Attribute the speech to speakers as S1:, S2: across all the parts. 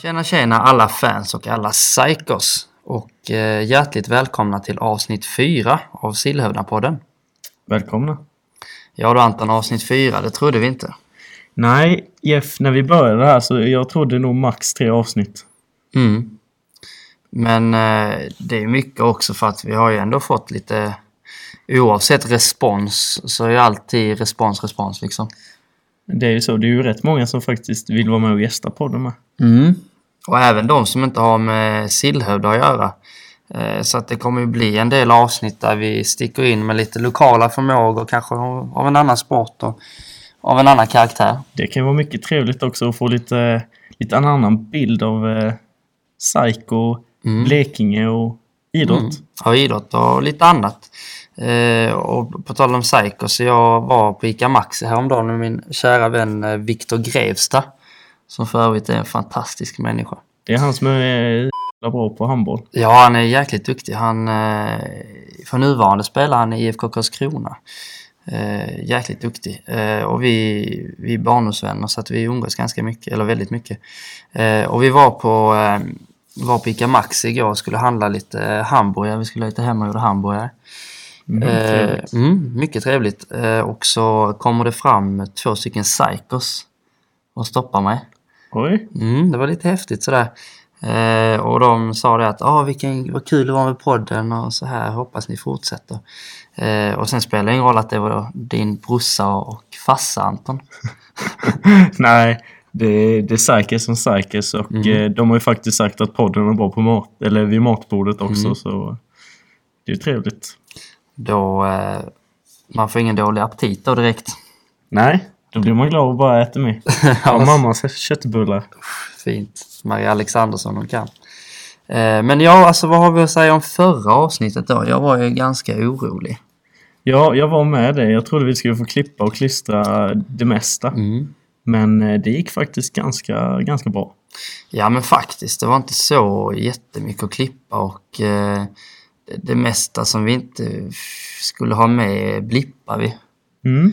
S1: Tjena tjena alla fans och alla psykos och eh, hjärtligt välkomna till avsnitt 4 av Sillhövdapodden.
S2: Välkomna.
S1: Ja du Anton, avsnitt 4, det trodde vi inte.
S2: Nej, Jeff, när vi började här så jag trodde nog max tre avsnitt.
S1: Mm. Men eh, det är mycket också för att vi har ju ändå fått lite oavsett respons så är ju alltid respons respons liksom.
S2: Det är ju så, det är ju rätt många som faktiskt vill vara med och gästa podden med.
S1: Och även de som inte har med Sillhövda att göra. Eh, Så att det kommer ju bli en del avsnitt där vi sticker in med lite lokala förmågor, kanske av av en annan sport och av en annan karaktär.
S2: Det kan vara mycket trevligt också att få lite, lite en annan bild av eh, Psycho, Blekinge och idrott.
S1: Mm. Ja, idrott och lite annat. Eh, och på tal om psycho, så jag var på ICA Maxi häromdagen med min kära vän eh, Viktor Grevsta. Som för övrigt är en fantastisk människa.
S2: Det är han som är eh, bra på handboll.
S1: Ja, han är jäkligt duktig. Han, eh, för nuvarande spelar han i IFK Karlskrona. Eh, jäkligt duktig. Eh, och vi, vi är barndomsvänner så att vi umgås ganska mycket, eller väldigt mycket. Eh, och vi var på, eh, var på Ica Maxi igår och skulle handla lite eh, hamburgare. Vi skulle lite hemmagjorda hamburgare.
S2: Mm,
S1: Eh,
S2: trevligt.
S1: mm, mycket trevligt. Eh, och så kommer det fram två stycken psykos och stoppar mig.
S2: Oj,
S1: Mm, det var lite häftigt sådär. Eh, och de sa det att ah, vilken, vad kul det var med podden och så här, hoppas ni fortsätter. Eh, och sen spelar det ingen roll att det var din brorsa och farsa Anton.
S2: nej. Det, det är Psykes som Psykes och eh, de har ju faktiskt sagt att podden är bra på mat, eller vid matbordet också så det är ju trevligt.
S1: Då, eh, man får ingen dålig aptit då direkt.
S2: Nej, alltså. då blir man glad och bara äter mer. Av mammas köttbullar.
S1: Fint. Maria Alexandersson hon kan. Eh, men ja, alltså vad har vi att säga om förra avsnittet då? Jag var ju ganska orolig.
S2: Ja, jag var med dig. Jag trodde vi skulle få klippa och klistra det mesta. Men eh, det gick faktiskt ganska, ganska bra.
S1: Ja men faktiskt, det var inte så jättemycket att klippa och eh, det- det mesta som vi inte skulle ha med blippar vi.
S2: Mm.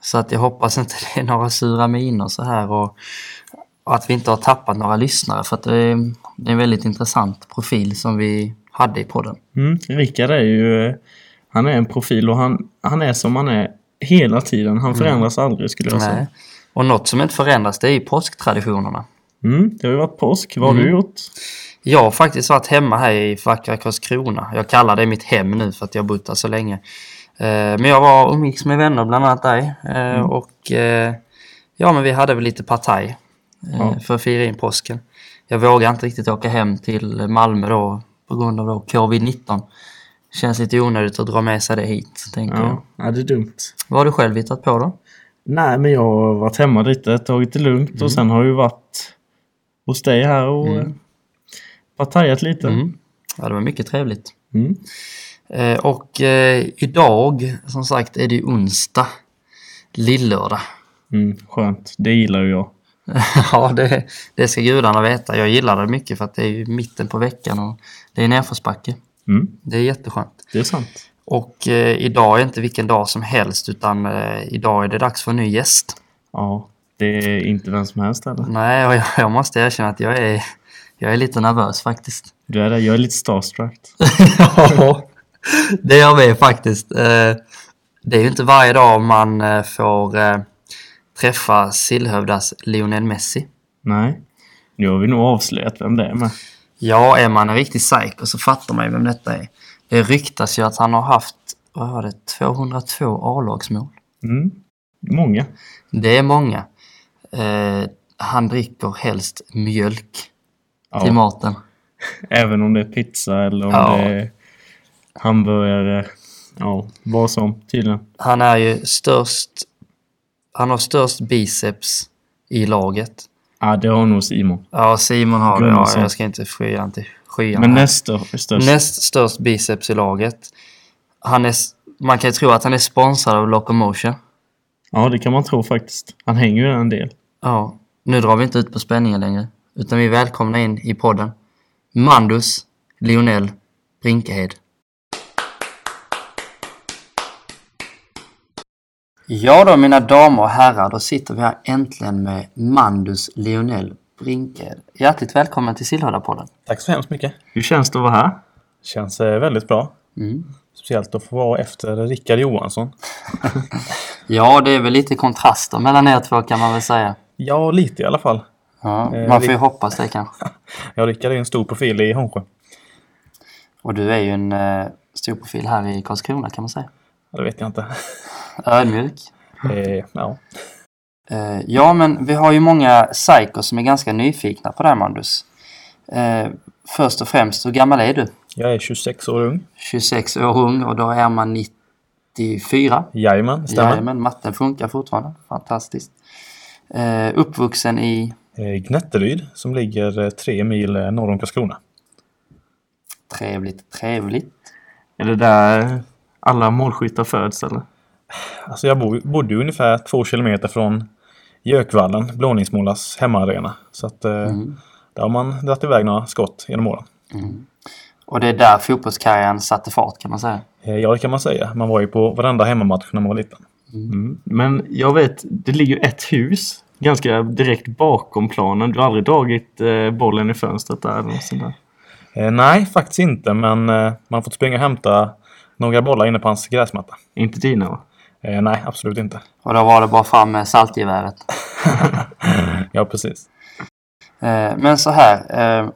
S1: Så att jag hoppas inte det är några sura miner så här och, och att vi inte har tappat några lyssnare för att det är, det är en väldigt intressant profil som vi hade i podden.
S2: Mm. Rickard är ju... eh, Han är en profil och han, han är som han är hela tiden. Han förändras aldrig skulle jag säga.
S1: Nej. Alltså, Och något som inte förändras det är ju påsktraditionerna.
S2: Mm. Det har ju varit påsk. Vad har du gjort?
S1: Jag har faktiskt varit hemma här i vackra Karlskrona. Jag kallar det mitt hem nu för att jag har bott där så länge. Eh, Men jag var och umgicks med vänner, bland annat dig. Eh,
S2: Mm.
S1: Och eh, ja, men vi hade väl lite partaj eh,
S2: Ja.
S1: för att fira in påsken. Jag vågar inte riktigt åka hem till Malmö då på grund av då covid-19. Känns lite onödigt att dra med sig det hit, tänker jag.
S2: Ja. ja, det är dumt.
S1: Vad har du själv hittat på då?
S2: Nej, men jag har varit hemma lite, tagit det lugnt och sen har jag ju varit hos dig här och mm. partajat lite.
S1: Mm. Ja, det var mycket trevligt.
S2: Mm.
S1: Eh, Och eh, idag, som sagt, är det ju onsdag. Lillördag.
S2: Mm, skönt, det gillar ju jag.
S1: Ja, det, det ska gudarna veta. Jag gillar det mycket för att det är ju mitten på veckan och det är nedförsbacke.
S2: Mm,
S1: Det är jätteskönt.
S2: det är sant.
S1: Och eh, idag är inte vilken dag som helst utan eh, idag är det dags för en ny gäst.
S2: Ja, det är inte vem som helst heller.
S1: Nej, och jag, jag måste erkänna att jag är, jag är lite nervös faktiskt.
S2: Du är där, jag är lite starstruck.
S1: ja, det är jag med faktiskt. Eh, det är ju inte varje dag man eh, får eh, träffa Sillhövdas Lionel Messi.
S2: Nej, nu har vi nog avslöjat vem det är med.
S1: Ja, är man en riktig psycho så fattar man ju vem detta är. Det ryktas ju att han har haft, vad var det, 202 A-lagsmål.
S2: Mm. Många.
S1: Det är många. Eh, han dricker helst mjölk till
S2: Ja,
S1: maten.
S2: även om det är pizza eller om
S1: Ja.
S2: det är hamburgare. Ja, vad som tydligen.
S1: Han är ju störst, han har störst biceps i laget.
S2: Ja, det har nog Simon.
S1: Ja, Simon har det. Ja,
S2: Gunnarsson.
S1: jag ska inte skya han till skyan.
S2: Mm, Men
S1: här.
S2: näst störst.
S1: Näst störst biceps i laget. Han är, s- man kan ju tro att han är sponsrad av Locomotion.
S2: Ja, det kan man tro faktiskt. Han hänger ju där en del.
S1: Ja, nu drar vi inte ut på spänningen längre. Utan vi välkomnar in i podden Mandus Lionel Brinkehed. Ja då mina damer och herrar, då sitter vi här äntligen med Mandus Lionel Brinker. Hjärtligt välkommen till Sillhöjdarpodden.
S2: Tack så hemskt mycket.
S3: Hur känns det att vara här?
S2: Känns eh, väldigt bra.
S1: Mm.
S2: Speciellt att få vara efter Rickard Johansson.
S1: Ja, det är väl lite kontraster mellan er två kan man väl säga.
S2: Ja, lite i alla fall.
S1: Ja,
S2: Eh,
S1: man får ju
S2: vi-
S1: hoppas det kanske.
S2: Ja, Rickard är ju en stor profil i Hånsjö.
S1: Och du är ju en eh, stor profil här i Karlskrona kan man säga.
S2: Ja, Det vet jag inte.
S1: Ödmjuk.
S2: Eh, ja.
S1: Eh, ja, men vi har ju många psykos som är ganska nyfikna på det här, Mandus. Eh, först och främst, hur gammal är du?
S2: Jag är 26 år ung.
S1: 26 år ung och då är man 94.
S2: Jajamän, det stämmer.
S1: Jajamän, matten funkar fortfarande. Fantastiskt. Eh, uppvuxen i
S2: Eh, Gnetteryd som ligger eh, tre mil eh, norr om Karlskrona.
S1: trevligt, trevligt.
S3: Är det där alla målskyttar föds eller?
S2: Alltså jag bo, bodde ju ungefär två kilometer från Jökvallen, Blåningsmålas hemmaarena. Så att, eh,
S3: Mm.
S2: där har man dragit iväg några skott genom åren.
S1: Och det är där fotbollskarriären satte fart kan man säga.
S2: Eh, ja, det kan man säga. Man var ju på varenda hemmamatch när man var liten.
S3: Mm. Men jag vet, det ligger ju ett hus ganska direkt bakom planen. Du har aldrig dragit eh, bollen i fönstret där eller något sånt där?
S2: Eh, nej, faktiskt inte. Men eh, man har fått springa och hämta några bollar inne på hans gräsmatta.
S3: Inte dina va?
S2: Eh, nej, absolut inte.
S1: Och då var det bara fram med saltgeväret.
S2: Ja, precis.
S1: Eh, men så här. Eh,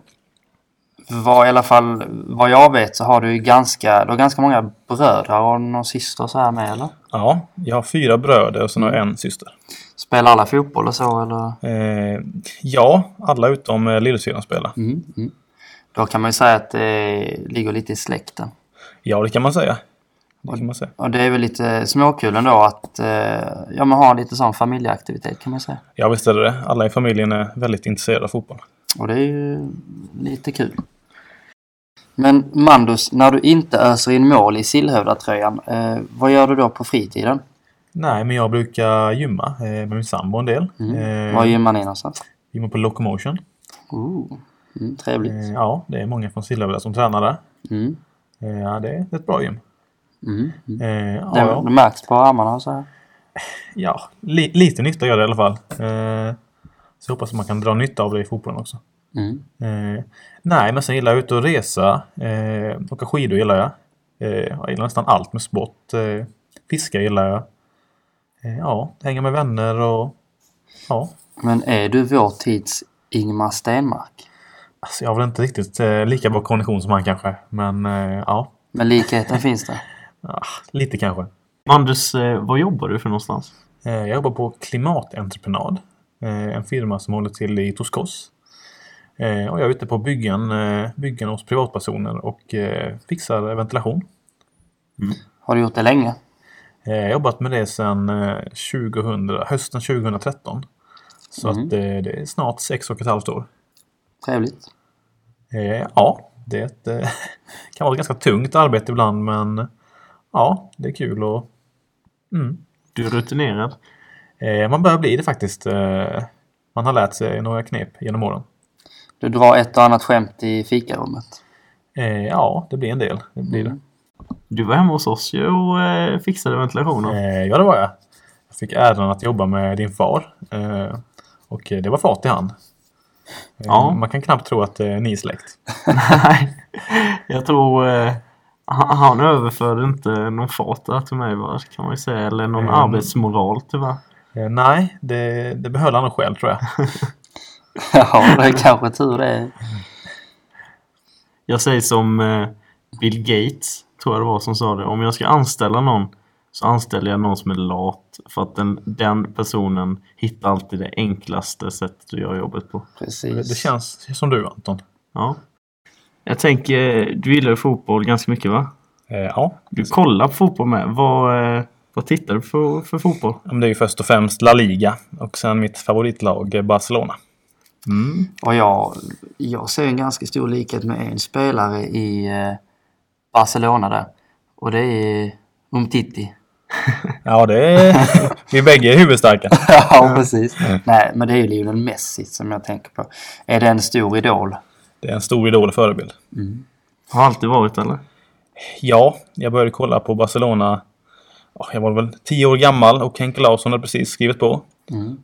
S1: vad, I alla fall vad jag vet så har du ju ganska, du har ganska många bröder och någon syster så här med eller?
S2: Ja, jag har fyra bröder och sen har jag en syster.
S1: Spelar alla fotboll och så eller?
S2: Eh, ja, alla utom eh, lillsyrran spelar.
S1: Mm. Mm. Då kan man ju säga att det ligger lite i släkten.
S2: Ja, det kan man säga. Det kan man säga.
S1: Och det är väl lite småkulen då att eh, ja, man har lite sån familjeaktivitet kan man säga.
S2: Ja, visst är det det. Alla i familjen är väldigt intresserade av fotboll.
S1: Och det är ju lite kul. Men Mandus, när du inte öser in mål i Sillhövdatröjan, eh, vad gör du då på fritiden?
S2: Nej, men jag brukar gymma eh, med min sambo en del. Eh,
S1: Mm. Vad gymmar ni någonstans?
S2: Gymmar på Locomotion.
S1: Ooh. Mm, trevligt.
S2: Eh, ja, det är många från Sillhövda som tränar där.
S1: Mm.
S2: Eh, ja, det är ett bra gym.
S1: Mm.
S2: Eh, ja,
S1: Det,
S2: ja.
S1: det märks på armarna och så här.
S2: ja li, lite nytta gör det i alla fall. Eh, så jag hoppas att man kan dra nytta av det i fotbollen också.
S1: Mm.
S2: Eh, nej, men sen gillar jag ut och resa. Eh, åka skidor gillar jag. Eh, jag gillar nästan allt med sport. Eh, fiska gillar jag. Eh, ja, hänga med vänner och... Ja,
S1: Men är du vår tids Ingmar Stenmark?
S2: alltså jag har väl inte riktigt eh, lika bra kondition som han kanske. Men eh, ja,
S1: Men likheten finns det.
S2: ah, lite kanske.
S3: Anders, eh, vad jobbar du för någonstans?
S2: Eh, jag jobbar på Klimatentreprenad. Eh, en firma som håller till i Toskos. Eh, och jag är ute på byggen, eh, byggen hos privatpersoner och eh, fixar ventilation.
S1: Har du gjort det länge?
S2: Eh, Jag har jobbat med det sedan eh, 2000, hösten 2013. Så
S3: Mhm.
S2: att eh, det är snart sex och ett halvt år.
S1: Trevligt.
S2: Eh, Ja, det är ett, eh, kan vara ett ganska tungt arbete ibland men ja, det är kul och mm.
S3: Du är rutinerad.
S2: eh, man börjar bli det faktiskt. Eh, Man har lärt sig några knep genom åren.
S1: Du drar ett och annat skämt i fikarummet. Mm.
S2: Eh, Ja, det blir en del. Det blir det.
S3: Du var hemma hos oss ju och eh, fixade ventilationen.
S2: Eh, Ja, det var jag. Jag fick äran att jobba med din far. eh, Och eh, det var fart i hand. Eh,
S3: Ja.
S2: Man kan knappt tro att eh, ni är släkt.
S3: Nej, jag tror eh, han han överförde inte någon fart där till mig va, kan man ju säga. Eller någon
S2: Mm.
S3: arbetsmoral tyvärr.
S2: Eh, Nej, det, det behöll han nog själv tror jag.
S1: Ja, det är kanske tur det. är.
S3: Jag säger som eh, Bill Gates, tror jag det var, som sa det. Om jag ska anställa någon så anställer jag någon som är lat. För att den, den personen hittar alltid det enklaste sättet att göra jobbet på.
S1: Precis.
S2: Det, det känns som du Anton.
S3: Ja. Jag tänker, du gillar ju fotboll ganska mycket va?
S2: Eh, ja,
S3: Du kollar på fotboll med. Vad, eh, vad tittar du på för fotboll?
S2: men det är ju först och främst La Liga och sen mitt favoritlag eh, Barcelona.
S3: Mm.
S1: Och jag, jag ser en ganska stor likhet med en spelare i eh, Barcelona där. Och det är Umtiti.
S2: Ja, det är, vi är bägge huvudstarka.
S1: ja, precis. Nej, men det är ju Lionel Messi som jag tänker på. Är det en stor idol?
S2: Det är en stor idol och förebild.
S3: Har alltid varit eller?
S2: Ja, jag började kolla på Barcelona. ja, Jag var väl 10 år gammal och Henke Larsson hade precis skrivit på.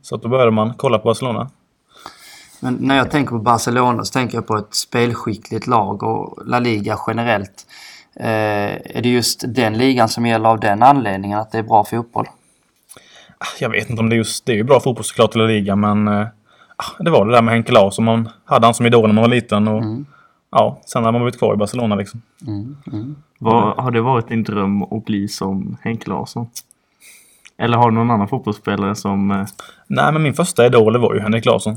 S2: Så att då började man kolla på Barcelona.
S1: Men när jag tänker på Barcelona så tänker jag på ett spelskickligt lag och La Liga generellt. Eh, är det just den ligan som gäller av den anledningen att det är bra fotboll?
S2: Ah, Jag vet inte om det är just... Det är ju bra fotboll såklart i La Liga, men... eh, ah, Det var det där med Henke Larsson. Man hade han som idol när man var liten. Och, Ja, sen har man blivit kvar i Barcelona liksom.
S1: Mm,
S3: Vad,
S2: Mm.
S3: har det varit din dröm att bli som Henke Larsson? Eller har du någon annan fotbollsspelare som... eh,
S2: Nej, men min första idol var ju Henrik Larsson.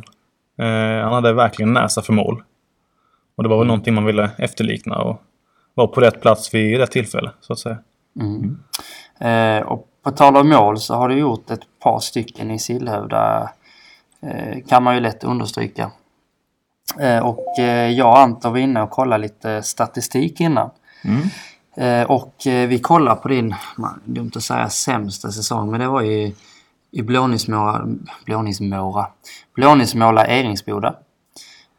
S2: Eh, han hade verkligen näsa för mål. Och det
S3: Mm.
S2: var väl någonting man ville efterlikna och vara på rätt plats vid rätt tillfälle, så att säga.
S1: Mm. Eh, och på tal om mål så har du gjort ett par stycken i Sillhövda. Eh, kan man ju lätt understryka. Eh, och eh, jag och Anton var inne och kollade lite statistik innan.
S3: Mm.
S1: Eh, och eh, vi kollar på din, man, dumt att säga sämsta säsong, men det var ju i Blåningsmåla, Blåningsmåla, Blåningsmåla Eringsboda.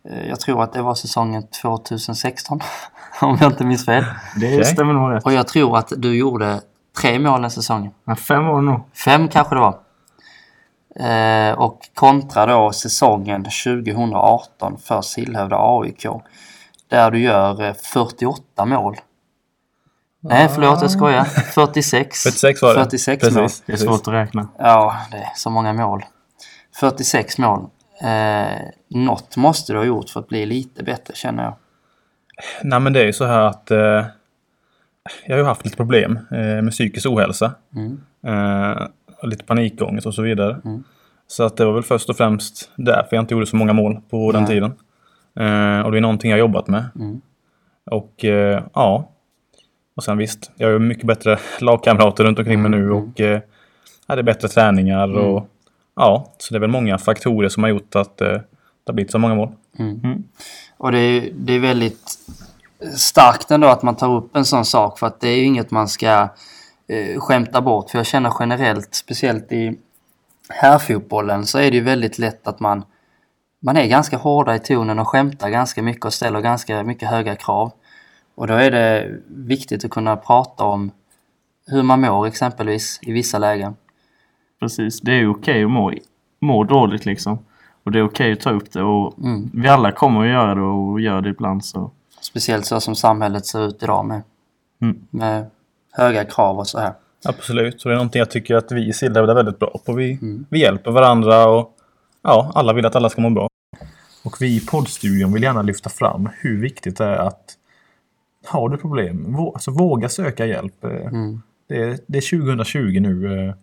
S1: Eh, jag tror att det var säsongen 2016, om jag inte minns fel.
S3: Det
S2: Okej.
S3: stämmer nog rätt.
S1: Och jag tror att du gjorde tre mål den säsongen.
S3: Ja, fem var det nog.
S1: Fem kanske det var. Eh, och kontra då säsongen 2018 för Sillhövda AIK. Där du gör eh, 48 mål. Nej, förlåt jag skojar. 46.
S2: 46 var det.
S1: 46 mål.
S2: Precis.
S3: Det är
S2: precis.
S3: svårt att räkna.
S1: Ja, det är så många mål. 46 mål. Eh, något måste du ha gjort för att bli lite bättre känner jag.
S2: Nej, men det är ju så här att eh, jag har ju haft lite problem eh, med psykisk ohälsa. Eh, och lite panikångest och så vidare. Så att det var väl först och främst därför jag inte gjorde så många mål på den
S1: Nej.
S2: tiden. Eh, och det är någonting jag har jobbat med. Och eh, ja. Och sen visst, jag har ju mycket bättre lagkamrater runt omkring mig nu och eh, ja, det är bättre träningar och ja, så det är väl många faktorer som har gjort att eh, det har blivit så många mål.
S1: Och det är, det är väldigt starkt ändå att man tar upp en sån sak för att det är ju inget man ska eh, skämta bort. För jag känner generellt, speciellt i herrfotbollen, så är det ju väldigt lätt att man, man är ganska hårda i tonen och skämtar ganska mycket och ställer ganska mycket höga krav. Och då är det viktigt att kunna prata om hur man mår exempelvis i vissa lägen.
S3: Precis, det är ju okej att må, må dåligt liksom. Och det är okej att ta upp det och
S1: Mm.
S3: vi alla kommer att göra det och gör det ibland så.
S1: Speciellt så som samhället ser ut idag med,
S3: Mm.
S1: med höga krav och så här.
S2: Absolut, och det är någonting jag tycker att vi i Silda är väldigt bra på. Vi,
S1: Mm.
S2: vi hjälper varandra och ja, alla vill att alla ska må bra. Och vi i poddstudion vill gärna lyfta fram hur viktigt det är att har du problem, vå, alltså våga söka hjälp. Eh,
S1: Mm.
S2: Det, är, det är 2020 nu. eh,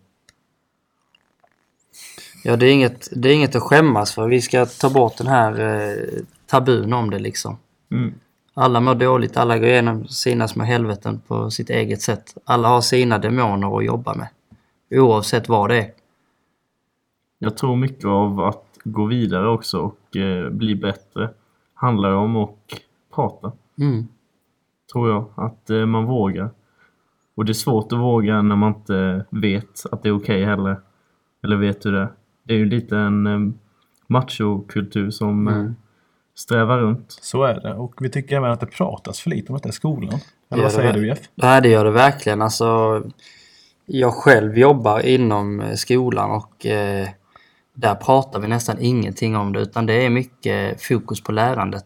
S1: Ja, det är, inget, det är inget att skämmas för. Vi ska ta bort den här eh, tabun om det liksom.
S3: Mm.
S1: Alla mår dåligt, alla går igenom sina små helveten på sitt eget sätt. Alla har sina demoner att jobba med. Oavsett vad det är.
S3: Jag tror mycket av att gå vidare också och eh, bli bättre handlar om att prata,
S1: Mm.
S3: tror jag. Att eh, man vågar. Och det är svårt att våga när man inte vet att det är okej heller. Eller vet hur det är. Det är ju lite en eh, machokultur som eh, strävar runt.
S2: Så är det. Och vi tycker även att det pratas för lite om detta i skolan.
S1: Ja,
S2: Eller vad
S1: det
S2: säger
S1: är-
S2: du Jeff?
S1: Nej, det gör det verkligen. Alltså, jag själv jobbar inom eh, skolan och eh, där pratar vi nästan ingenting om det utan det är mycket fokus på lärandet.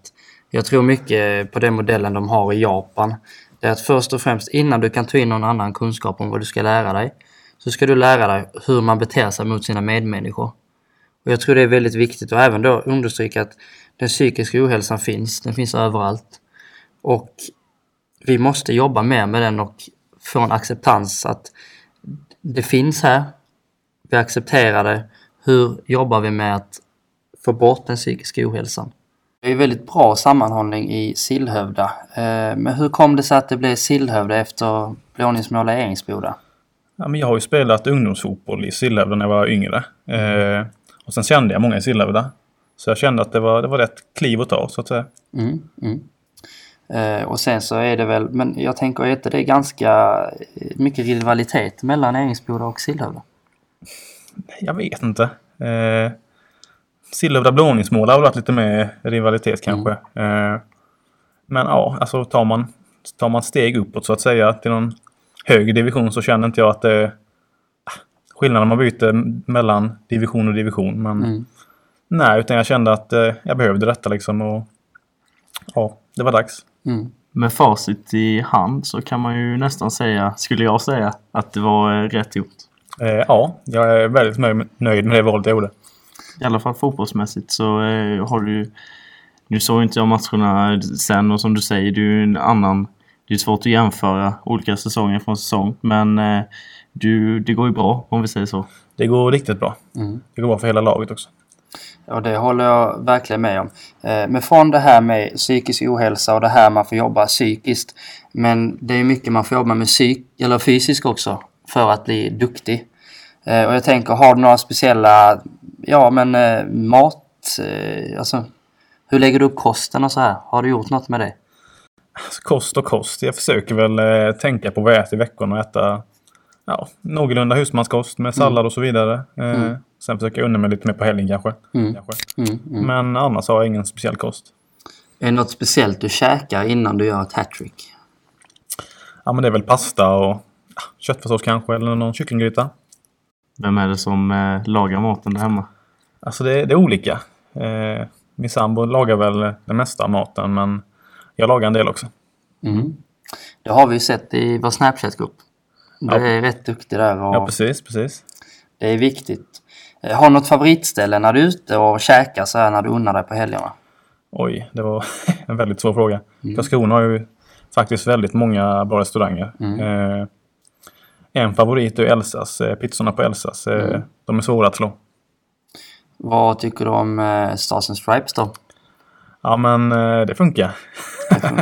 S1: Jag tror mycket på den modellen de har i Japan. Det är att först och främst innan du kan ta in någon annan kunskap om vad du ska lära dig så ska du lära dig hur man beter sig mot sina medmänniskor. Och jag tror det är väldigt viktigt och även då understryka att den psykiska ohälsan finns. Den finns överallt. Och vi måste jobba mer med den och få en acceptans att det finns här. Vi accepterar det. Hur jobbar vi med att få bort den psykiska ohälsan? Det är väldigt bra sammanhållning i Sillhövda. Eh, Men hur kom det sig att det blev Sillhövda efter Blåningsmåla och Eringsboda?
S2: Ja, men jag har ju spelat ungdomsfotboll i Sillhävda när jag var yngre. Eh, och sen kände jag många i Sillhävda. Så jag kände att det var, det var rätt kliv att ta, så att säga.
S1: Mm, mm. Eh, Och sen så är det väl, men jag tänker är inte det ganska eh, mycket rivalitet mellan Eringsboda och Sillhövda?
S2: Jag vet inte. Eh, Sillhövda Blåningsmåla har väl varit lite mer rivalitet kanske. Eh, men ja, alltså tar man, tar man steg uppåt så att säga till någon högre division så känner inte jag att det ah, är skillnaden man byter mellan division och division. Men Nej, utan jag kände att eh, jag behövde detta liksom och ja, det var dags.
S1: Mm.
S3: Med facit i hand så kan man ju nästan säga, skulle jag säga, att det var eh, rätt gjort.
S2: Eh, ja, jag är väldigt nöjd med, nöjd med det valet jag gjorde.
S3: I alla fall fotbollsmässigt så eh, har du ju... Nu såg ju inte jag matcherna sen och som du säger, det är ju en annan... Det är svårt att jämföra olika säsonger från säsong, men eh, du, det går ju bra om vi säger så.
S2: Det går riktigt bra.
S1: Mm.
S2: Det går bra för hela laget också.
S1: Och det håller jag verkligen med om. Eh, Men från det här med psykisk ohälsa och det här man får jobba psykiskt. Men det är mycket man får jobba med psyk, eller fysiskt också för att bli duktig. Eh, Och jag tänker, har du några speciella, ja men eh, mat, eh, alltså hur lägger du upp kosten och så här? Har du gjort något med det?
S2: Alltså, kost och kost. Jag försöker väl eh, tänka på vad jag äter i veckan och äta ja, någorlunda husmanskost
S1: Mm.
S2: med sallad och så vidare. Eh, Sen försöker jag unna mig lite mer på helgen kanske. kanske.
S1: Mm.
S2: Men annars har jag ingen speciell kost.
S1: Är det något speciellt du käkar innan du gör ett hattrick?
S2: Ja, men det är väl pasta och ja, köttfärssås kanske eller någon kycklinggryta.
S3: Vem är det som eh, lagar maten där hemma?
S2: Alltså det, det är olika. Eh, min sambo lagar väl det mesta av maten men jag lagar en del också.
S1: Mm. Det har vi ju sett i vår Snapchat-grupp. Du
S2: Ja.
S1: är rätt duktig där. Och...
S2: Ja, precis, precis.
S1: Det är viktigt. Eh, Har du något favoritställe när du är ute och käkar så här när du unnar dig på helgerna?
S2: Oj, det var en väldigt svår fråga. Karlskrona har ju faktiskt väldigt många bra restauranger. Eh, en favorit är Elsas, eh, pizzorna på Elsas. Eh, De är svåra att slå.
S1: Vad tycker du om eh, Stars and Stripes då?
S2: Ja, men eh, det funkar.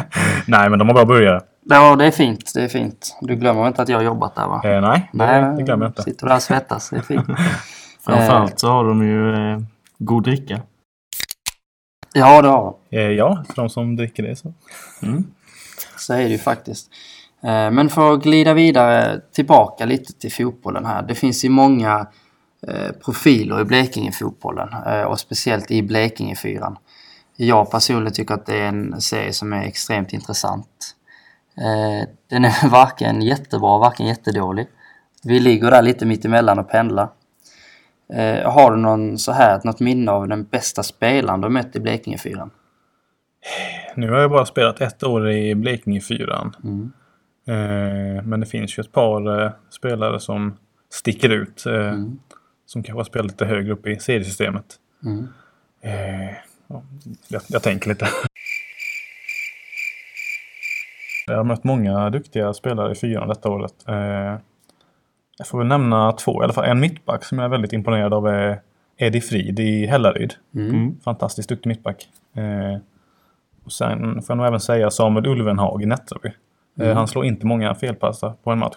S2: nej, men de har bra burgare.
S1: Ja, det är fint. Det är fint. Du glömmer inte att jag har jobbat där va?
S2: Eh, nej, det, det glömmer jag inte.
S1: Sitter där och svettas. Det är fint.
S3: Framförallt så har de ju eh, god dricka.
S1: Ja, det har de.
S2: Eh, ja, för de som dricker det så.
S1: Så är det ju faktiskt. Eh, Men för att glida vidare tillbaka lite till fotbollen här. Det finns ju många eh, profiler i Blekinge-fotbollen eh, och speciellt i Blekinge-fyran. Jag personligen tycker att det är en serie som är extremt intressant. Eh, Den är varken jättebra, varken jättedålig. Vi ligger där lite mittemellan och pendlar. Eh, Har du någon så här, något minne av den bästa spelaren du mött i Blekinge-fyran?
S2: Nu har jag bara spelat ett år i Blekinge 4.
S1: Mm.
S2: Eh, men det finns ju ett par eh, spelare som sticker ut. Eh, Som kanske har spelat lite högre upp i seriesystemet.
S1: Mm.
S2: Eh, ja, jag, jag tänker lite. Jag har mött många duktiga spelare i fyran detta året. Eh, jag får väl nämna två, i alla fall en mittback som jag är väldigt imponerad av är Eddie Frid i Hällaryd.
S3: Mm.
S2: Fantastiskt duktig mittback. Eh, och sen får jag nog även säga Samuel Ulvenhag i Nättraby. Eh, han slår inte många felpassar på en match.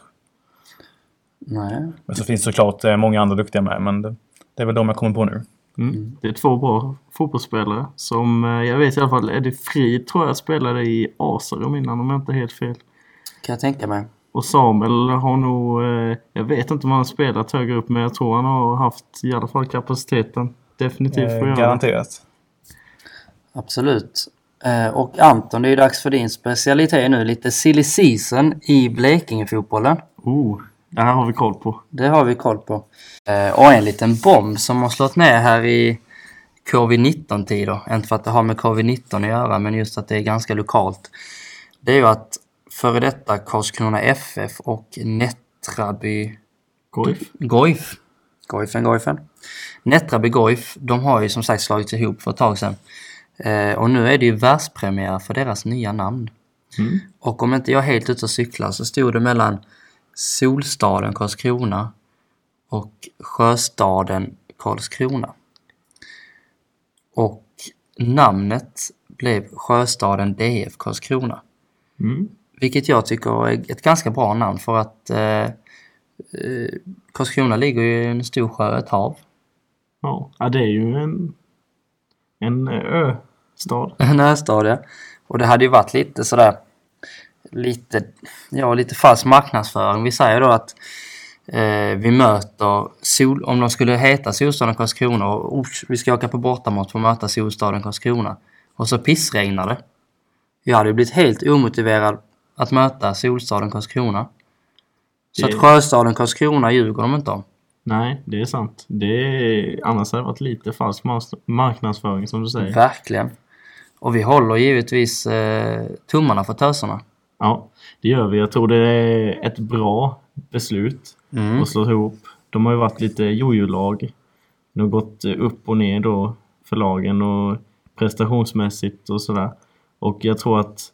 S1: Nej.
S2: Men så finns såklart eh, många andra duktiga med, men det, det är väl de jag kommer på nu.
S3: Mm. Det är två bra fotbollsspelare som eh, jag vet i alla fall Eddie Frid tror jag spelade i Asarum innan om jag inte är helt fel.
S1: Kan jag tänka mig.
S3: Och Samuel har nog, eh, jag vet inte om han har spelat högre upp men jag tror han har haft i alla fall kapaciteten. Definitivt för
S2: Eh,
S3: att göra det.
S2: garanterat.
S1: Absolut. Eh, Och Anton, det är ju dags för din specialitet nu. Lite silly season i Blekingefotbollen.
S3: Oh, det här har vi koll på.
S1: Det har vi koll på. Eh, Och en liten bomb som har slått ner här i covid-19-tider. Inte för att det har med covid-19 att göra, men just att det är ganska lokalt. Det är ju att före detta Karlskrona FF och Nättraby
S3: Goif.
S1: Goif. Goifen, Goifen. Nättraby Goif, de har ju som sagt slagits ihop för ett tag sedan. Eh, och nu är det ju världspremiär för deras nya namn. Och om inte jag är helt ute och cyklar så stod det mellan Solstaden Karlskrona och Sjöstaden Karlskrona. Och namnet blev Sjöstaden DF Karlskrona.
S3: Mm.
S1: Vilket jag tycker är ett ganska bra namn för att eh, eh, Karlskrona ligger ju i en stor sjö, ett hav.
S3: Ja. ja, det är ju en, en eh, ö-stad.
S1: En östad, ja. Och det hade ju varit lite sådär lite, ja, lite falsk marknadsföring. Vi säger då att eh, vi möter Sol, om de skulle heta Solstaden Karlskrona och oh, vi ska åka på bortamatch för att möta Solstaden Karlskrona. Och så pissregnar det. Jag hade ju blivit helt omotiverad att möta Solstaden Karlskrona. Så
S3: Det-
S1: att Sjöstaden Karlskrona ljuger de inte om.
S3: Nej, det är sant. Det är, annars hade det varit lite falsk mas- marknadsföring som du
S1: Mm.
S3: säger.
S1: Verkligen. Och vi håller givetvis eh, tummarna för töserna.
S3: Ja, det gör vi. Jag tror det är ett bra beslut
S1: Mm.
S3: att slå ihop. De har ju varit lite jojo-lag. De har gått upp och ner då för lagen och prestationsmässigt och sådär. Och jag tror att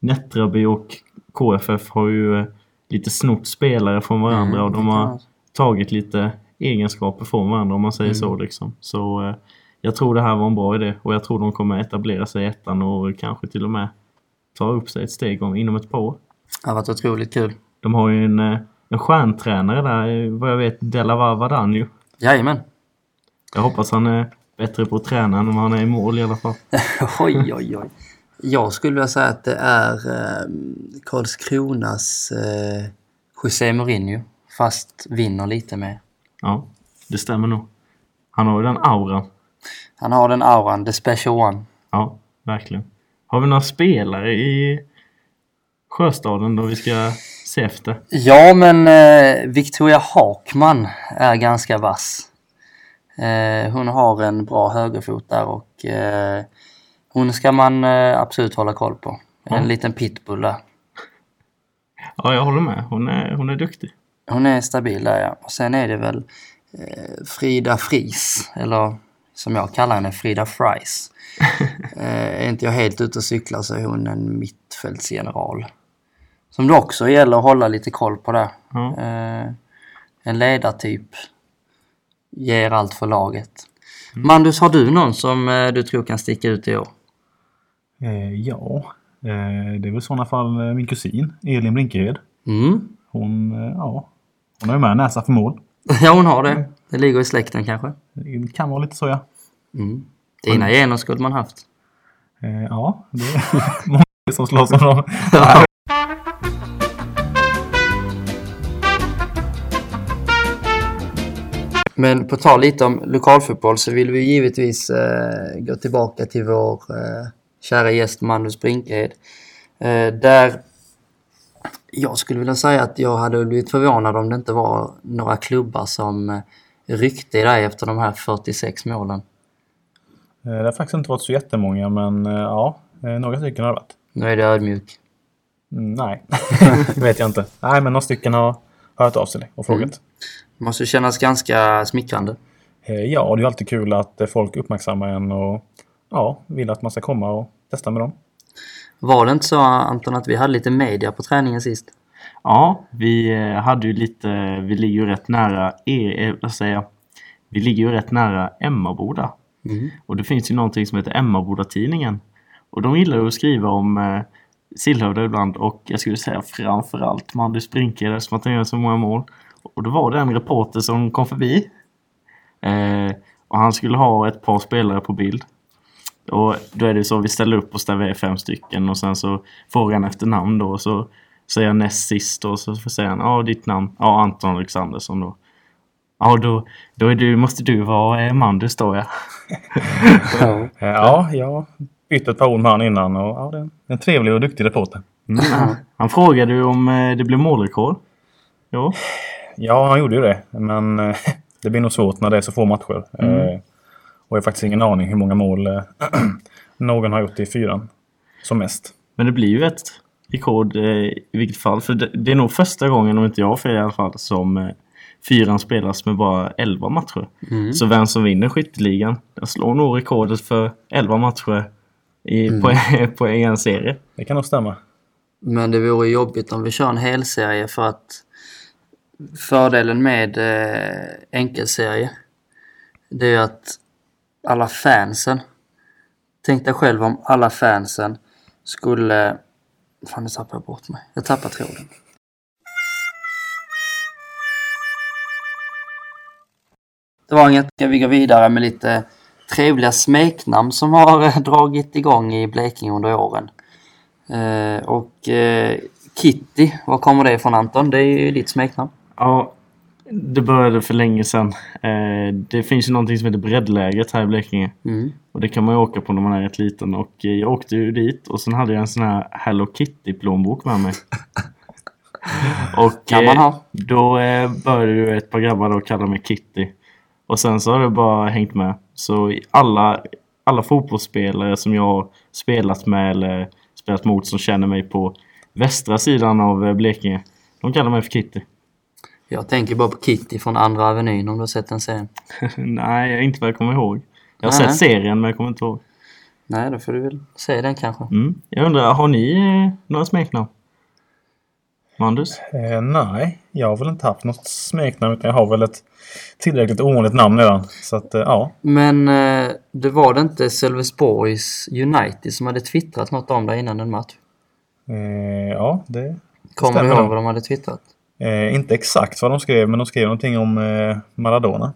S3: Nättraby och KFF har ju lite snott spelare från
S1: Mm.
S3: varandra och de har tagit lite egenskaper från varandra om man säger så liksom. Så eh, jag tror det här var en bra idé och jag tror de kommer etablera sig i ettan och kanske till och med ta upp sig ett steg om, inom ett par år.
S1: Det har varit otroligt kul.
S3: De har ju en, eh, en stjärntränare där, eh, vad jag vet, Delavar Vadanju.
S1: Jajamän.
S3: Jag hoppas han är bättre på att träna än vad han är i mål i alla fall.
S1: Oj, oj, oj. Jag skulle vilja säga att det är eh, Karlskronas eh, José Mourinho. Fast vinner lite mer.
S3: Ja, det stämmer nog. Han har ju den auran.
S1: Han har den auran, the special one.
S3: Ja, verkligen. Har vi några spelare i Sjöstaden då vi ska se efter?
S1: Ja, men eh, Victoria Hakman är ganska vass. Eh, hon har en bra högerfot där och eh, hon ska man eh, absolut hålla koll på. En liten pitbull där.
S3: Ja, jag håller med. Hon är, hon är duktig.
S1: Hon är stabil där ja. Och sen är det väl eh, Frida Fries, eller som jag kallar henne, Frida Fries. eh, är inte jag helt ute och cyklar så är hon en mittfältsgeneral. Som det också gäller att hålla lite koll på där.
S3: Ja.
S1: Eh, en ledartyp. Ger allt för laget. Mandus, har du någon som eh, du tror kan sticka ut i år?
S2: Eh, ja, eh, det är väl i sådana fall eh, min kusin Elin Brinkehed.
S1: Mm.
S2: Hon, eh, ja, hon har ju med näsa för mål.
S1: Ja, hon har det. Det ligger i släkten kanske.
S2: Det kan vara lite så ja.
S1: Mm. Dina gener skulle man haft.
S2: Eh, ja, det är många som slåss om dem.
S1: Men på tal lite om lokalfotboll så vill vi givetvis eh, gå tillbaka till vår eh, kära gäst Magnus Brinkhed. Eh, där jag skulle vilja säga att jag hade blivit förvånad om det inte var några klubbar som eh, ryckte i dig efter de här 46 målen.
S2: Eh, det har faktiskt inte varit så jättemånga men eh, ja, eh, några stycken har det varit.
S1: Nu är det ödmjuk.
S2: Mm, nej, det vet jag inte. Nej, men några stycken har har hört av sig och frågat.
S1: Det måste kännas ganska smickrande.
S2: Eh, Ja, och det är alltid kul att eh, folk uppmärksammar en och ja, vill att man ska komma och testa med dem.
S1: Var det inte så Anton att vi hade lite media på träningen sist?
S3: Ja, vi eh, hade ju lite, vi ligger ju rätt nära, e, eh, vad säger jag? Vi ligger ju rätt nära Emmaboda. Och det finns ju någonting som heter Emmaboda-tidningen. Och de gillar ju att skriva om eh, Sillhövda ibland och jag skulle säga framförallt Mandus Brinke där som att han gör så många mål. Och då var det en reporter som kom förbi. Eh, och han skulle ha ett par spelare på bild. Och då är det så vi ställer upp oss där vi är fem stycken och sen så frågar han efter namn då och så säger jag näst sist och så säger han ja ditt namn, ja Anton Alexandersson då. Ja då, då är du, måste du vara eh, Mandus då ja.
S1: Ja.
S2: Eh, Ja, jag bytte ett par ord med han innan och ja, det är en trevlig och duktig reporter.
S3: Mm. Han frågade ju om eh, det blev målrekord. Ja,
S2: Ja, han gjorde ju det, men eh, det blir nog svårt när det är så få matcher. Eh, Och jag har faktiskt ingen aning hur många mål eh, någon har gjort i fyran som mest.
S3: men det blir ju ett rekord eh, i vilket fall. För det, det är nog första gången, om inte jag har fel i alla fall, som eh, fyran spelas med bara 11 matcher.
S1: Mm.
S3: Så vem som vinner skytteligan, den slår nog rekordet för 11 matcher i, på, på en serie.
S2: Det kan nog stämma.
S1: Men det vore jobbigt om vi kör en hel serie för att fördelen med eh, enkelserie det är ju att alla fansen Tänk dig själv om alla fansen skulle... Fan, nu tappade jag bort mig. Jag tappar tråden. Det var inget. Ska vi gå vidare med lite trevliga smeknamn som har eh, dragit igång i Blekinge under åren. Eh, och eh, Kitty, var kommer det ifrån Anton? Det är ju ditt smeknamn.
S3: Ja, det började för länge sedan. Eh, det finns ju någonting som heter breddlägret här i Blekinge.
S1: Mm.
S3: Och det kan man ju åka på när man är rätt liten. Och eh, jag åkte ju dit och sen hade jag en sån här Hello Kitty plånbok med mig. Och
S1: Kan man
S3: eh,
S1: ha.
S3: då eh, började ju ett par grabbar då kalla mig Kitty. Och sen så har det bara hängt med. Så i alla, alla fotbollsspelare som jag har spelat med eller spelat mot som känner mig på västra sidan av eh, Blekinge. De kallar mig för Kitty.
S1: Jag tänker bara på Kitty från Andra Avenyn om du har sett den serien.
S3: Nej, jag är inte vad jag kommer ihåg. Jag har
S1: Nej.
S3: sett serien men jag kommer inte ihåg.
S1: Nej, då får du väl se den kanske.
S3: Mm. Jag undrar, har ni eh, några smeknamn? Mandus?
S2: Eh, nej, jag har väl inte haft något smeknamn utan jag har väl ett tillräckligt ovanligt namn redan. Så att eh, ja,
S1: Men eh, det var det inte Sölvesborgs United som hade twittrat något om dig innan en match?
S2: eh, ja det
S1: Kommer du
S2: Stämmer
S1: ihåg
S2: det.
S1: vad de hade twittrat?
S2: Eh, inte exakt vad de skrev, men de skrev någonting om eh, Maradona.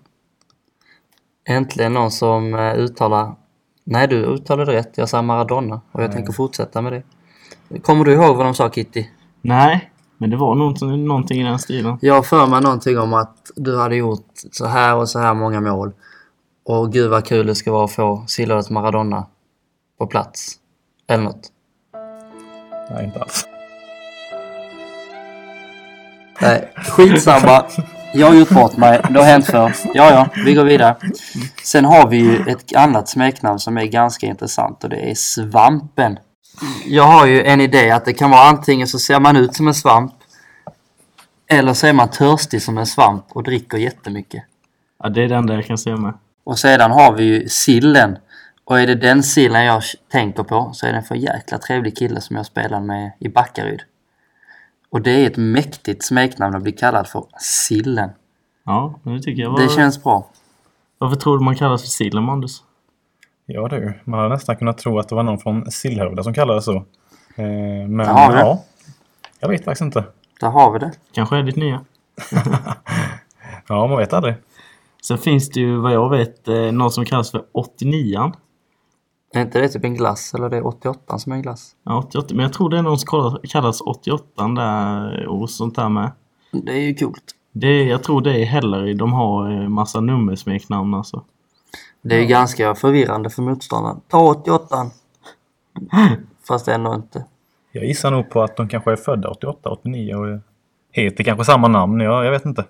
S1: Äntligen någon som eh, uttalar Nej, du uttalade rätt. Jag sa Maradona och jag tänker fortsätta med det. Kommer du ihåg vad de sa Kitty?
S3: Nej, men det var något- någonting i den stilen.
S1: Jag har för mig någonting om att du hade gjort så här och så här många mål. Och gud vad kul det ska vara att få Silvers Maradona på plats. Eller något.
S2: Nej, inte alls.
S1: Nej, skitsamma. Jag har gjort bort mig. Det har hänt förr. Ja, ja, vi går vidare. Sen har vi ju ett annat smeknamn som är ganska intressant och det är Svampen. Jag har ju en idé att det kan vara antingen så ser man ut som en svamp eller så är man törstig som en svamp och dricker jättemycket.
S3: Ja, det är det enda jag kan se med.
S1: Och sedan har vi ju sillen. Och är det den sillen jag tänker på så är det en för jäkla trevlig kille som jag spelade med i Backaryd. Och det är ett mäktigt smeknamn att bli kallad för sillen.
S3: Ja, men det tycker jag var...
S1: Det känns bra.
S3: Varför tror du man kallas för sillen, Mandus?
S2: Ja du, man hade nästan kunnat tro att det var någon från Sillhövda som kallades så. Eh, men
S1: Jaha, det.
S2: ja, jag vet faktiskt inte.
S1: Där har vi det.
S3: Kanske är ditt nya.
S2: Ja, man vet aldrig.
S3: Sen finns det ju vad jag vet eh, någon som kallas för 89an.
S1: Är inte det typ en glass? Eller det är 88 som är en glass?
S3: Ja, 88. Men jag tror det är någon som kallas- kallas 88an där och sånt där med.
S1: Det är ju coolt.
S3: Det, är- jag tror det är Hällaryd. De har eh, massa nummersmeknamn alltså.
S1: Det är ju ganska förvirrande för motståndaren. Ta 88 Fast ändå inte.
S2: Jag gissar nog på att de kanske är födda 88, 89 och heter kanske samma namn. Ja, jag vet inte.